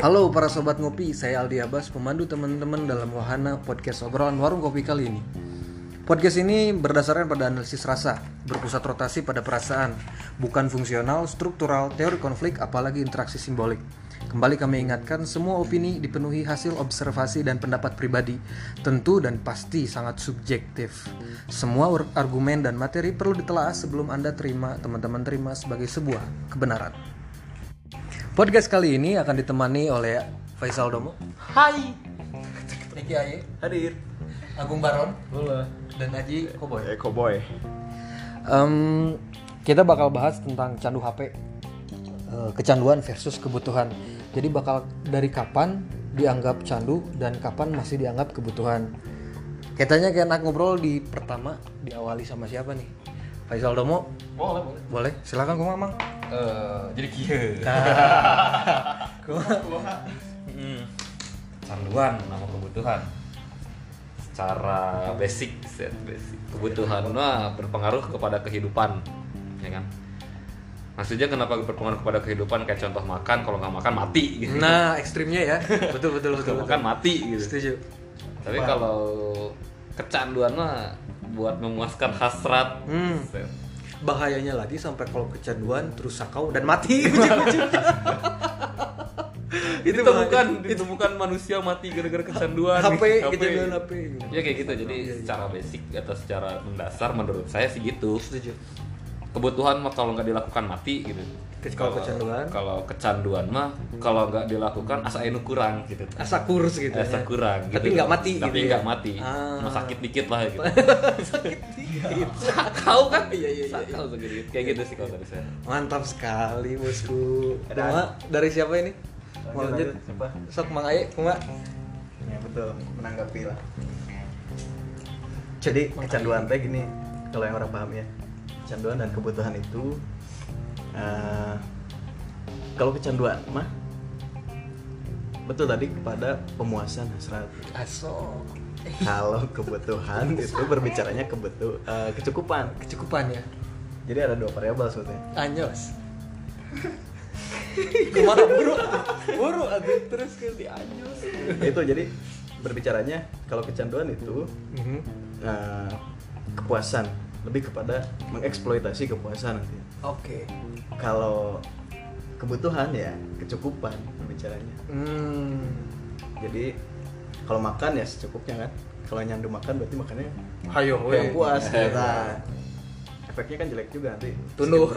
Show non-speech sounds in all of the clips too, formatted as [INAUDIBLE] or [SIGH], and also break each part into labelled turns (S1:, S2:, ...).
S1: Halo para sobat ngopi, saya Aldi Abbas, pemandu teman-teman dalam wahana podcast obrolan warung kopi kali ini. Podcast ini berdasarkan pada analisis rasa, berpusat rotasi pada perasaan, bukan fungsional, struktural, teori konflik, apalagi interaksi simbolik. Kembali kami ingatkan, semua opini dipenuhi hasil observasi dan pendapat pribadi, tentu dan pasti sangat subjektif. Semua ur- argumen dan materi perlu ditelaah sebelum Anda terima, teman-teman terima sebagai sebuah kebenaran. Podcast kali ini akan ditemani oleh Faisal Domo,
S2: Hai.
S1: Riki Aye,
S2: Hadir.
S1: Agung Baron,
S2: Bola.
S1: dan Haji Koboy.
S2: Eko Boy.
S1: Em, kita bakal bahas tentang candu HP, Eh, kecanduan versus kebutuhan. Jadi bakal dari kapan dianggap candu dan kapan masih dianggap kebutuhan. Katanya kayak enak ngobrol di pertama diawali sama siapa nih? Faisal Domo,
S2: Boleh, boleh.
S1: boleh? Silakan kumang mang.
S2: Eh, jadi kieu. [LAUGHS] Mm. Canduan nama kebutuhan. Secara basic, set basic. Kebutuhan mah berpengaruh kepada kehidupan, ya kan? Maksudnya kenapa berpengaruh kepada kehidupan kayak contoh makan, kalau nggak makan mati gitu.
S1: Nah, ekstrimnya ya, [LAUGHS] betul betul betul.
S2: Kalau
S1: betul.
S2: makan mati gitu.
S1: Setuju.
S2: Tapi kalau kecanduan mah buat memuaskan hasrat.
S1: Hmm.
S2: Set.
S1: bahayanya lagi sampai kalau kecanduan terus sakau dan
S2: [LAUGHS]
S1: mati [LAUGHS]
S2: itu bukan
S1: [LAUGHS]
S2: itu bukan manusia mati gara-gara kecanduan
S1: HP kecanduan HP
S2: ya kayak gitu jadi secara basic atau secara mendasar menurut saya sih gitu
S1: setuju
S2: kebutuhan mah kalau nggak dilakukan mati gitu
S1: Ke- kalau kecanduan?
S2: kalau kecanduan mah kalau nggak dilakukan asa enu kurang gitu
S1: asa kurus gitu ya.
S2: asa kurang
S1: tapi
S2: gitu.
S1: nggak mati
S2: tapi
S1: gitu
S2: nggak
S1: ya.
S2: mati
S1: Ah.
S2: cuma
S1: [LAUGHS]
S2: sakit dikit lah gitu
S1: sakit dikit
S2: sakau kan
S1: Iya, iya, iya.
S2: sakau sedikit kayak gitu sih kalau dari saya
S1: mantap sekali bosku Kuma, dari siapa ini mau lanjut
S3: Siapa?
S1: sok mang aye kuma
S3: Ya betul, menanggapi lah. Jadi kecanduan teh gini, kalau yang orang paham ya, kecanduan dan kebutuhan itu eh, kalau kecanduan mah betul tadi kepada pemuasan hasrat.
S1: Ah, aso
S3: Kalau kebutuhan itu berbicaranya kebutuh eh, kecukupan.
S1: kecukupan ya
S3: Jadi ada dua variabel sebetulnya.
S1: [LAUGHS] anjos kumaha buru buru aduh terus ke di anjos
S3: itu jadi berbicaranya kalau kecanduan itu
S1: Mhm.
S3: eh, kepuasan lebih kepada mengeksploitasi kepuasan nanti.
S1: oke
S3: kalau kebutuhan ya kecukupan bicaranya
S1: hmm
S3: jadi kalau makan ya secukupnya kan kalau nyandu makan berarti makannya
S1: Hayo,
S3: yang puas gitu. Nah, efeknya kan jelek juga nanti
S1: Tunduh.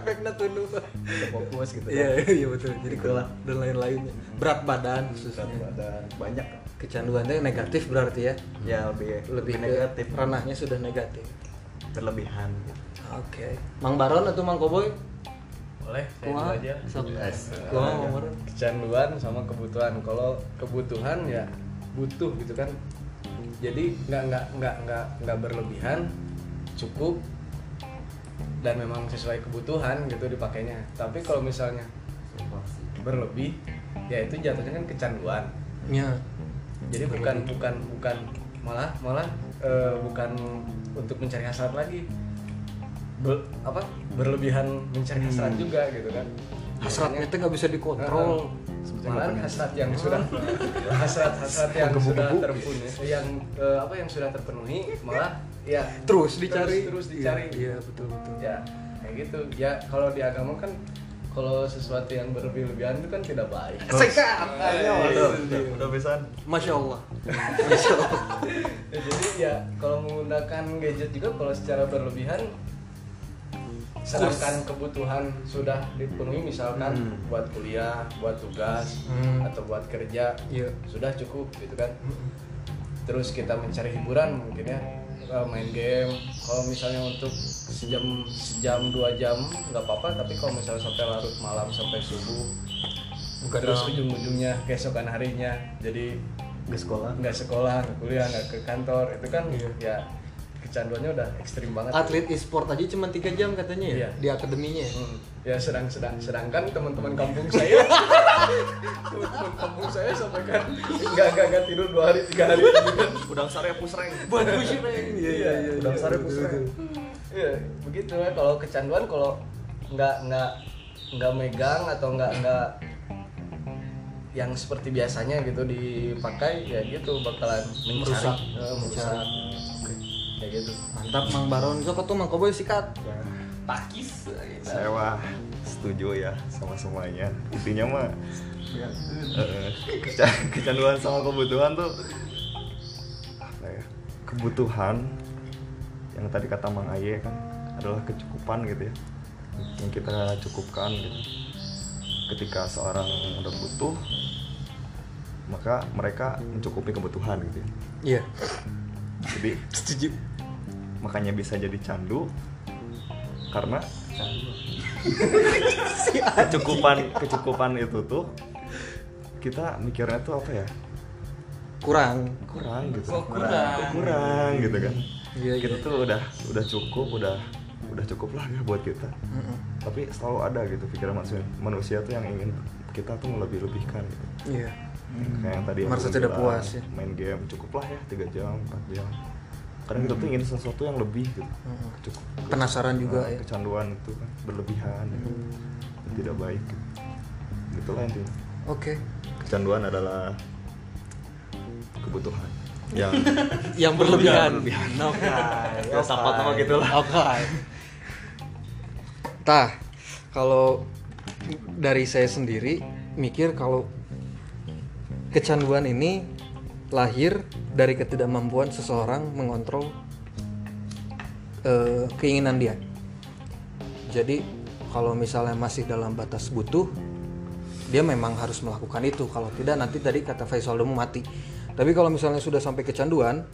S1: Efeknya tunduh.
S3: Nggak fokus gitu kan
S1: Iya, iya betul. Jadi
S3: Gitu
S1: kalau
S3: lah.
S1: dan lain-lainnya. Berat badan
S3: Berat
S1: khususnya.
S3: badan banyak
S1: Kecanduan itu negatif berarti ya.
S3: ya lebih
S1: Lebih, ke
S3: negatif
S1: ranahnya sudah negatif.
S3: berlebihan gitu.
S1: Oke. Mang Baron atau Mang Koboy?
S4: Boleh, saya
S1: Kumaha?
S4: dulu aja.
S1: Sok.
S3: Iya,
S2: Yes.
S1: Kumaha, Mang Baron?
S4: Kecanduan sama kebutuhan. Kalau kebutuhan ya butuh gitu kan. Jadi nggak nggak nggak nggak nggak berlebihan, cukup dan memang sesuai kebutuhan gitu dipakainya. Tapi kalau misalnya berlebih, ya itu jatuhnya kan kecanduan.
S1: Ya.
S4: Jadi bukan bukan bukan malah malah eh, bukan untuk mencari hasrat lagi. Be- apa berlebihan mencari hasrat juga gitu kan.
S1: Hasratnya
S4: Biasanya-
S1: itu nggak bisa dikontrol.
S3: Sebetulnya
S4: Malahan
S3: nggak
S4: hasrat yang sudah
S1: [LAUGHS]
S4: hasrat hasrat yang sudah terpenuhi yang eh, apa yang sudah terpenuhi malah ya
S1: Terus dicari.
S4: terus, dicari
S1: Iya, iya, betul betul.
S4: ya kayak gitu ya kalau di agama kan kalau sesuatu yang berlebih-lebihan itu kan tidak baik
S1: Sekat.
S3: betul betul betul Gitu. pisan.
S1: Iya, Masya Allah.
S4: Ya, jadi ya kalau menggunakan gadget juga kalau secara berlebihan sedangkan kebutuhan sudah dipenuhi misalkan
S3: Hmm.
S4: buat kuliah, buat tugas
S1: Hmm.
S4: atau buat kerja
S1: Iya. Hmm.
S4: sudah cukup gitu kan. Terus kita mencari hiburan mungkin ya eh, main game. Kalau misalnya untuk sejam sejam dua jam nggak apa-apa tapi kalau misalnya sampai larut malam sampai subuh terus ujung-ujungnya keesokan harinya jadi
S3: ke sekolah
S4: nggak sekolah nggak kuliah nggak ke kantor itu kan ya kecanduannya udah ekstrim banget
S1: Atlet e-sport aja cuma 3 jam katanya ya
S4: Iya.
S1: di akademinya ya.
S4: Hmm. ya sedang sedang sedangkan teman-teman kampung saya teman-teman kampung saya sampai kan nggak nggak nggak tidur dua hari tiga hari gitu kan.
S3: udang sare pusreng
S1: Buat push-up ya. Iya iya iya.
S4: Iya,
S1: iya,
S4: dasarnya
S1: betul,
S4: pusreng.
S1: betul.
S4: Iya, begitu ya kalau kecanduan kalau nggak nggak nggak megang atau nggak nggak yang seperti biasanya gitu dipakai ya gitu bakalan mencari eh,
S1: Merusak.
S4: merusak ya gitu
S1: Mantap Mang Baron. Siapa tuh Mang Koboy sikat.
S2: Pakis.
S5: saya mah setuju ya sama semuanya intinya mah eh, keca- kecanduan sama kebutuhan tuh apa ya kebutuhan yang tadi kata Mang Aye kan adalah kecukupan gitu ya yang kita cukupkan gitu ketika seorang udah butuh maka mereka mencukupi kebutuhan gitu ya
S1: Iya.
S5: jadi setuju makanya bisa jadi candu karena kecukupan kecukupan itu tuh kita mikirnya tuh apa ya
S1: Kurang.
S5: kurang gitu
S2: Kok kurang?
S5: Kok kurang gitu kan
S1: Oh, Iya,
S5: kita
S1: iya,
S5: tuh udah udah cukup udah udah cukup lah ya buat kita
S1: Mm-mm.
S5: tapi selalu ada gitu pikiran manusia manusia tuh yang ingin kita tuh melebih lebihkan gitu
S1: Iya.
S5: kayak yang tadi aku
S1: Merasa tidak
S5: bilang,
S1: puas, ya.
S5: main game cukuplah ya tiga jam 4 jam kadang kita tuh ingin sesuatu yang lebih gitu
S1: Mm-mm.
S5: cukup
S1: Hmm. Penasaran juga ya.
S5: Nah,
S1: Hmm.
S5: kecanduan itu kan berlebihan ya. Dan tidak baik gitu. itulah intinya
S1: Oke.
S5: kecanduan adalah kebutuhan yang
S1: [LAUGHS] Yang berlebihan. [LAUGHS] Oke.
S5: ya sapat sama gitu lah
S1: Oke. Tah, kalau dari saya sendiri mikir kalau kecanduan ini lahir dari ketidakmampuan seseorang mengontrol eh, keinginan dia. Jadi kalau misalnya masih dalam batas butuh, dia memang harus melakukan itu. Kalau tidak nanti tadi kata Faisal Demu mati. Tapi kalau misalnya sudah sampai kecanduan,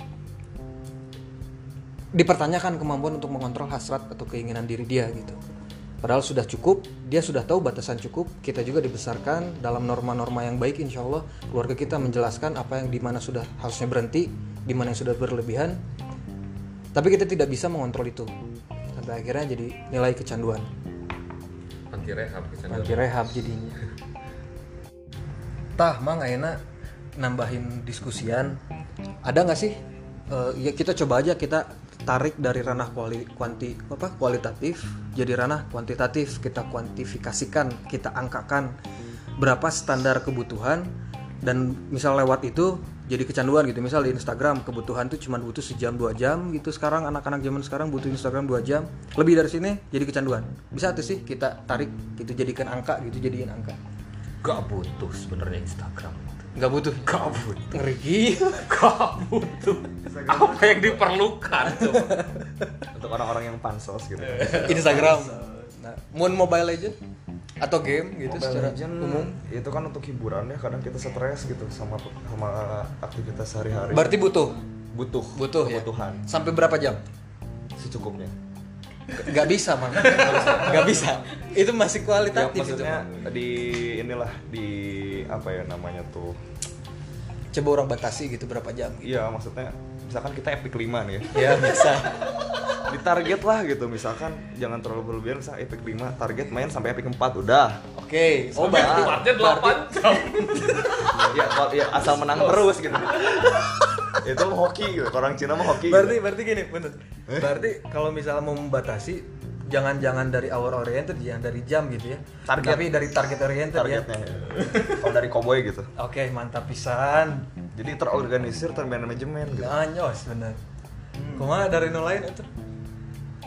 S1: dipertanyakan kemampuan untuk mengontrol hasrat atau keinginan diri dia gitu. Padahal sudah cukup, dia sudah tahu batasan cukup. Kita juga dibesarkan dalam norma-norma yang baik, insya Allah keluarga kita menjelaskan apa yang dimana sudah harusnya berhenti, dimana yang sudah berlebihan. Tapi kita tidak bisa mengontrol itu. Sampai akhirnya jadi nilai kecanduan,
S2: Panti rehab kecanduan.
S1: nanti rehab jadinya. Tah, Mang Aena nambahin diskusian. Ada nggak sih? Eh, ya kita coba aja kita tarik dari ranah kuali, kuanti apa kualitatif jadi ranah kuantitatif kita kuantifikasikan kita angkakan berapa standar kebutuhan dan misal lewat itu jadi kecanduan gitu misal di Instagram kebutuhan tuh cuma butuh sejam dua jam gitu sekarang anak-anak zaman sekarang butuh Instagram dua jam lebih dari sini jadi kecanduan bisa tuh sih kita tarik gitu jadikan angka gitu jadiin angka
S2: Gak butuh sebenarnya Instagram.
S1: nggak butuh
S2: Gak butuh.
S1: ngeri gila.
S2: Gak butuh. Apa yang diperlukan coba?
S5: untuk orang-orang yang pansos gitu
S1: Iya. Instagram. Nah, Moon Mobile Legend atau game gitu
S5: Mobile
S1: secara
S5: Legend,
S1: umum.
S5: itu kan untuk hiburan ya kadang kita stres gitu sama sama aktivitas sehari-hari
S1: Berarti butuh,
S5: butuh
S1: butuh ya.
S5: kebutuhan
S1: Sampai berapa jam?
S5: secukupnya
S1: Gak bisa, Mang. Gak bisa. Itu masih
S5: ya,
S1: kualitatif itu,
S5: maksudnya
S1: Mang.
S5: di inilah di apa ya namanya tuh
S1: Coba orang batasi gitu berapa jam.
S5: iya maksudnya misalkan kita epic 5 nih ya
S1: Ya, bisa.
S5: ditarget lah gitu misalkan jangan terlalu berlebihan misal epic 5 target main sampai epic 4 udah
S1: Oke.
S2: Oh,
S1: sampai-
S2: berarti 8 jam.
S5: [LAUGHS] ya, kalau- ya, asal menang terus gitu [LAUGHS] itu hoki gitu orang Cina mah hoki gitu,
S1: Berarti berarti gini, bener.
S5: Eh?
S1: Berarti kalau misalnya mau membatasi jangan-jangan dari hour oriented, jangan dari jam gitu ya.
S5: Target.
S1: Tapi dari target
S5: gitu,
S1: oriented ya.
S5: targetnya kalau dari koboi gitu
S1: Oke, mantap pisan.
S5: jadi terorganisir termanajemen [LAUGHS] gitu
S1: Anyos bener.
S2: Hmm.
S1: Kumaha dari nol lain itu?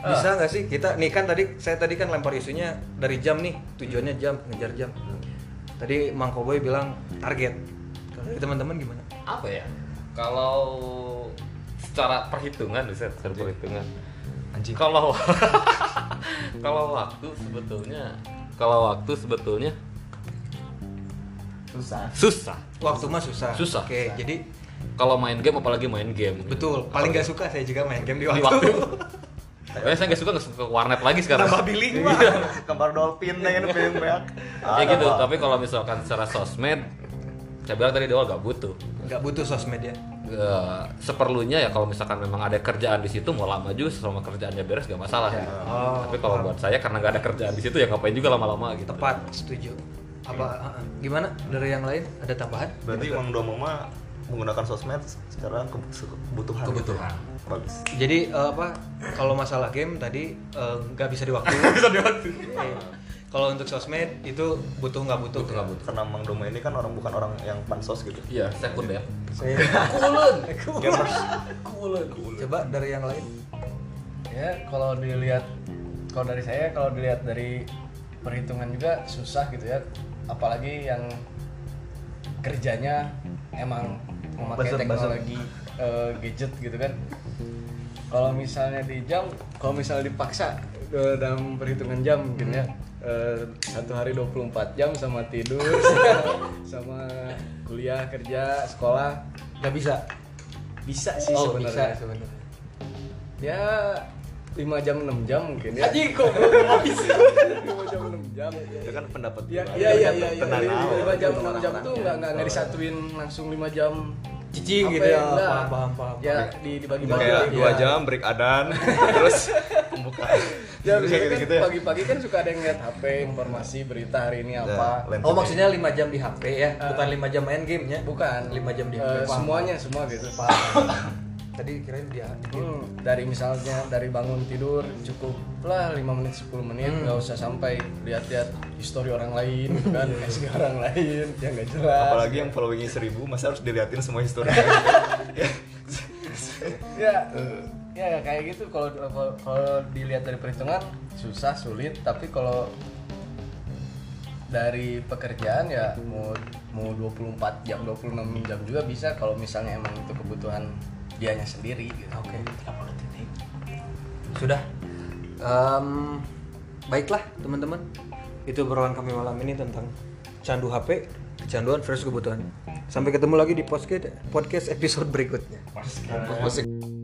S2: Ah.
S1: Bisa nggak sih kita nih kan tadi saya tadi kan lempar isunya dari jam nih tujuannya jam ngejar jam. Tadi Mang Koboy bilang target. Kalau dari teman-teman gimana?
S2: apa ya kalau secara perhitungan bisa secara perhitungan anjing kalau [LAUGHS] kalau waktu sebetulnya kalau waktu sebetulnya
S3: susah
S2: susah
S1: Waktu mah susah.
S2: Susah.
S1: Oke, jadi
S2: kalau main game apalagi main game
S1: betul. Paling nggak suka saya juga main game di
S2: Di
S1: waktu.
S2: waktu Eh, saya nggak suka nggak suka ke warnet lagi sekarang
S1: Tambah billing mah.
S2: [LAUGHS]
S5: Iya, gambar dolphin nih ini pengen banyak
S2: ya gitu tapi kalau misalkan secara sosmed saya bilang tadi di awal nggak butuh
S1: [LAUGHS] Nggak butuh sosmed ya.
S2: Eh, seperlunya ya kalau misalkan memang ada kerjaan di situ mau lama juga selama kerjaannya beres gak masalah gitu.
S1: Oh,
S2: tapi kalau buat saya karena nggak ada kerjaan di situ ya ngapain juga lama-lama gitu Iya.
S1: Tepat, setuju. Apa gimana dari uh-uh. yang lain ada tambahan?
S5: berarti Mang Domo mah menggunakan sosmed secara ke- se- kebutuhan.
S2: Kebutuhan.
S5: Bagus.
S1: Jadi eh, apa kalau masalah game tadi eh, nggak bisa
S4: [LAUGHS]
S1: diwaktu.
S2: Bisa dibantu.
S1: Iya. Kalau untuk sosmed itu butuh nggak butuh.
S2: Butuh nggak butuh.
S5: Karena Mang Domo ini kan orang bukan orang yang pansos [LAUGHS] gitu.
S2: Iya, sekunder.
S4: [LAUGHS] saya
S1: Kulen.
S5: Gamers.
S4: kulen
S1: Iya. Coba dari yang lain.
S4: ya kalau dilihat kalau dari saya kalau dilihat dari perhitungan juga susah gitu ya apalagi yang kerjanya emang memakai
S3: Buzzer, buzzer.
S4: teknologi eh, gadget gitu kan kalau misalnya di jam kalau misalnya dipaksa eh, dalam perhitungan jam gitu ya eh, satu hari 24 jam sama tidur sama kuliah kerja sekolah
S1: Nggak bisa. Oh,
S4: bisa sih sebenarnya
S1: sebenarnya.
S4: ya 5 jam 6 jam mungkin ya
S1: Aji kok.
S4: 5 jam 6 jam
S5: Itu kan pendapat
S4: ya
S5: pribadi.
S4: ya ya
S5: Kan
S4: ya
S5: tenang aja.
S4: 5 jam 6 jam
S3: Tenang
S4: tuh
S3: aja.
S4: nggak nggak nggak disatuin langsung 5 jam
S1: Cicing
S4: Apa
S1: gitu ya.
S4: ya, enggak.
S1: Paham, paham, paham.
S4: ya di Iya. dibagi bagi
S5: kan Kayak dua jam break adan [LAUGHS] terus
S4: ya
S5: pembukaan. Terus
S4: biasanya
S5: kayak
S4: kan
S5: gitu-gitu ya.
S4: pagi-pagi kan suka ada yang lihat HP informasi berita hari ini apa
S5: Lent-
S1: Oh maksudnya 5 jam di HP ya, bukan 5 jam main gamenya.
S4: Eh. bukan
S1: 5 jam di
S4: Eh,
S1: HP. Paham.
S4: semuanya semua gitu
S1: Paham. Tadi kirain dia
S4: Hmm, dari misalnya dari bangun tidur cukup lah 5 menit 10 menit
S1: Hmm.
S4: nggak usah sampai lihat-lihat histori orang lain gitu kan
S1: Iya.
S4: SG orang lain yang nggak jelas
S5: Apalagi yang followingnya seribu masa harus diliatin semua historinya. Ya.
S4: ya
S1: Eh.
S4: ya kayak gitu kalau kalau- kalau dilihat dari perhitungan susah sulit tapi kalau dari pekerjaan ya mau mau 24 jam 26 jam juga bisa kalau misalnya emang itu kebutuhan dianya sendiri gitu.
S1: Oke. Sudah. Em, baiklah teman-teman. Itu obrolan kami malam ini tentang candu HP, kecanduan versus kebutuhan. Sampai ketemu lagi di podcast podcast episode berikutnya.
S2: Musik.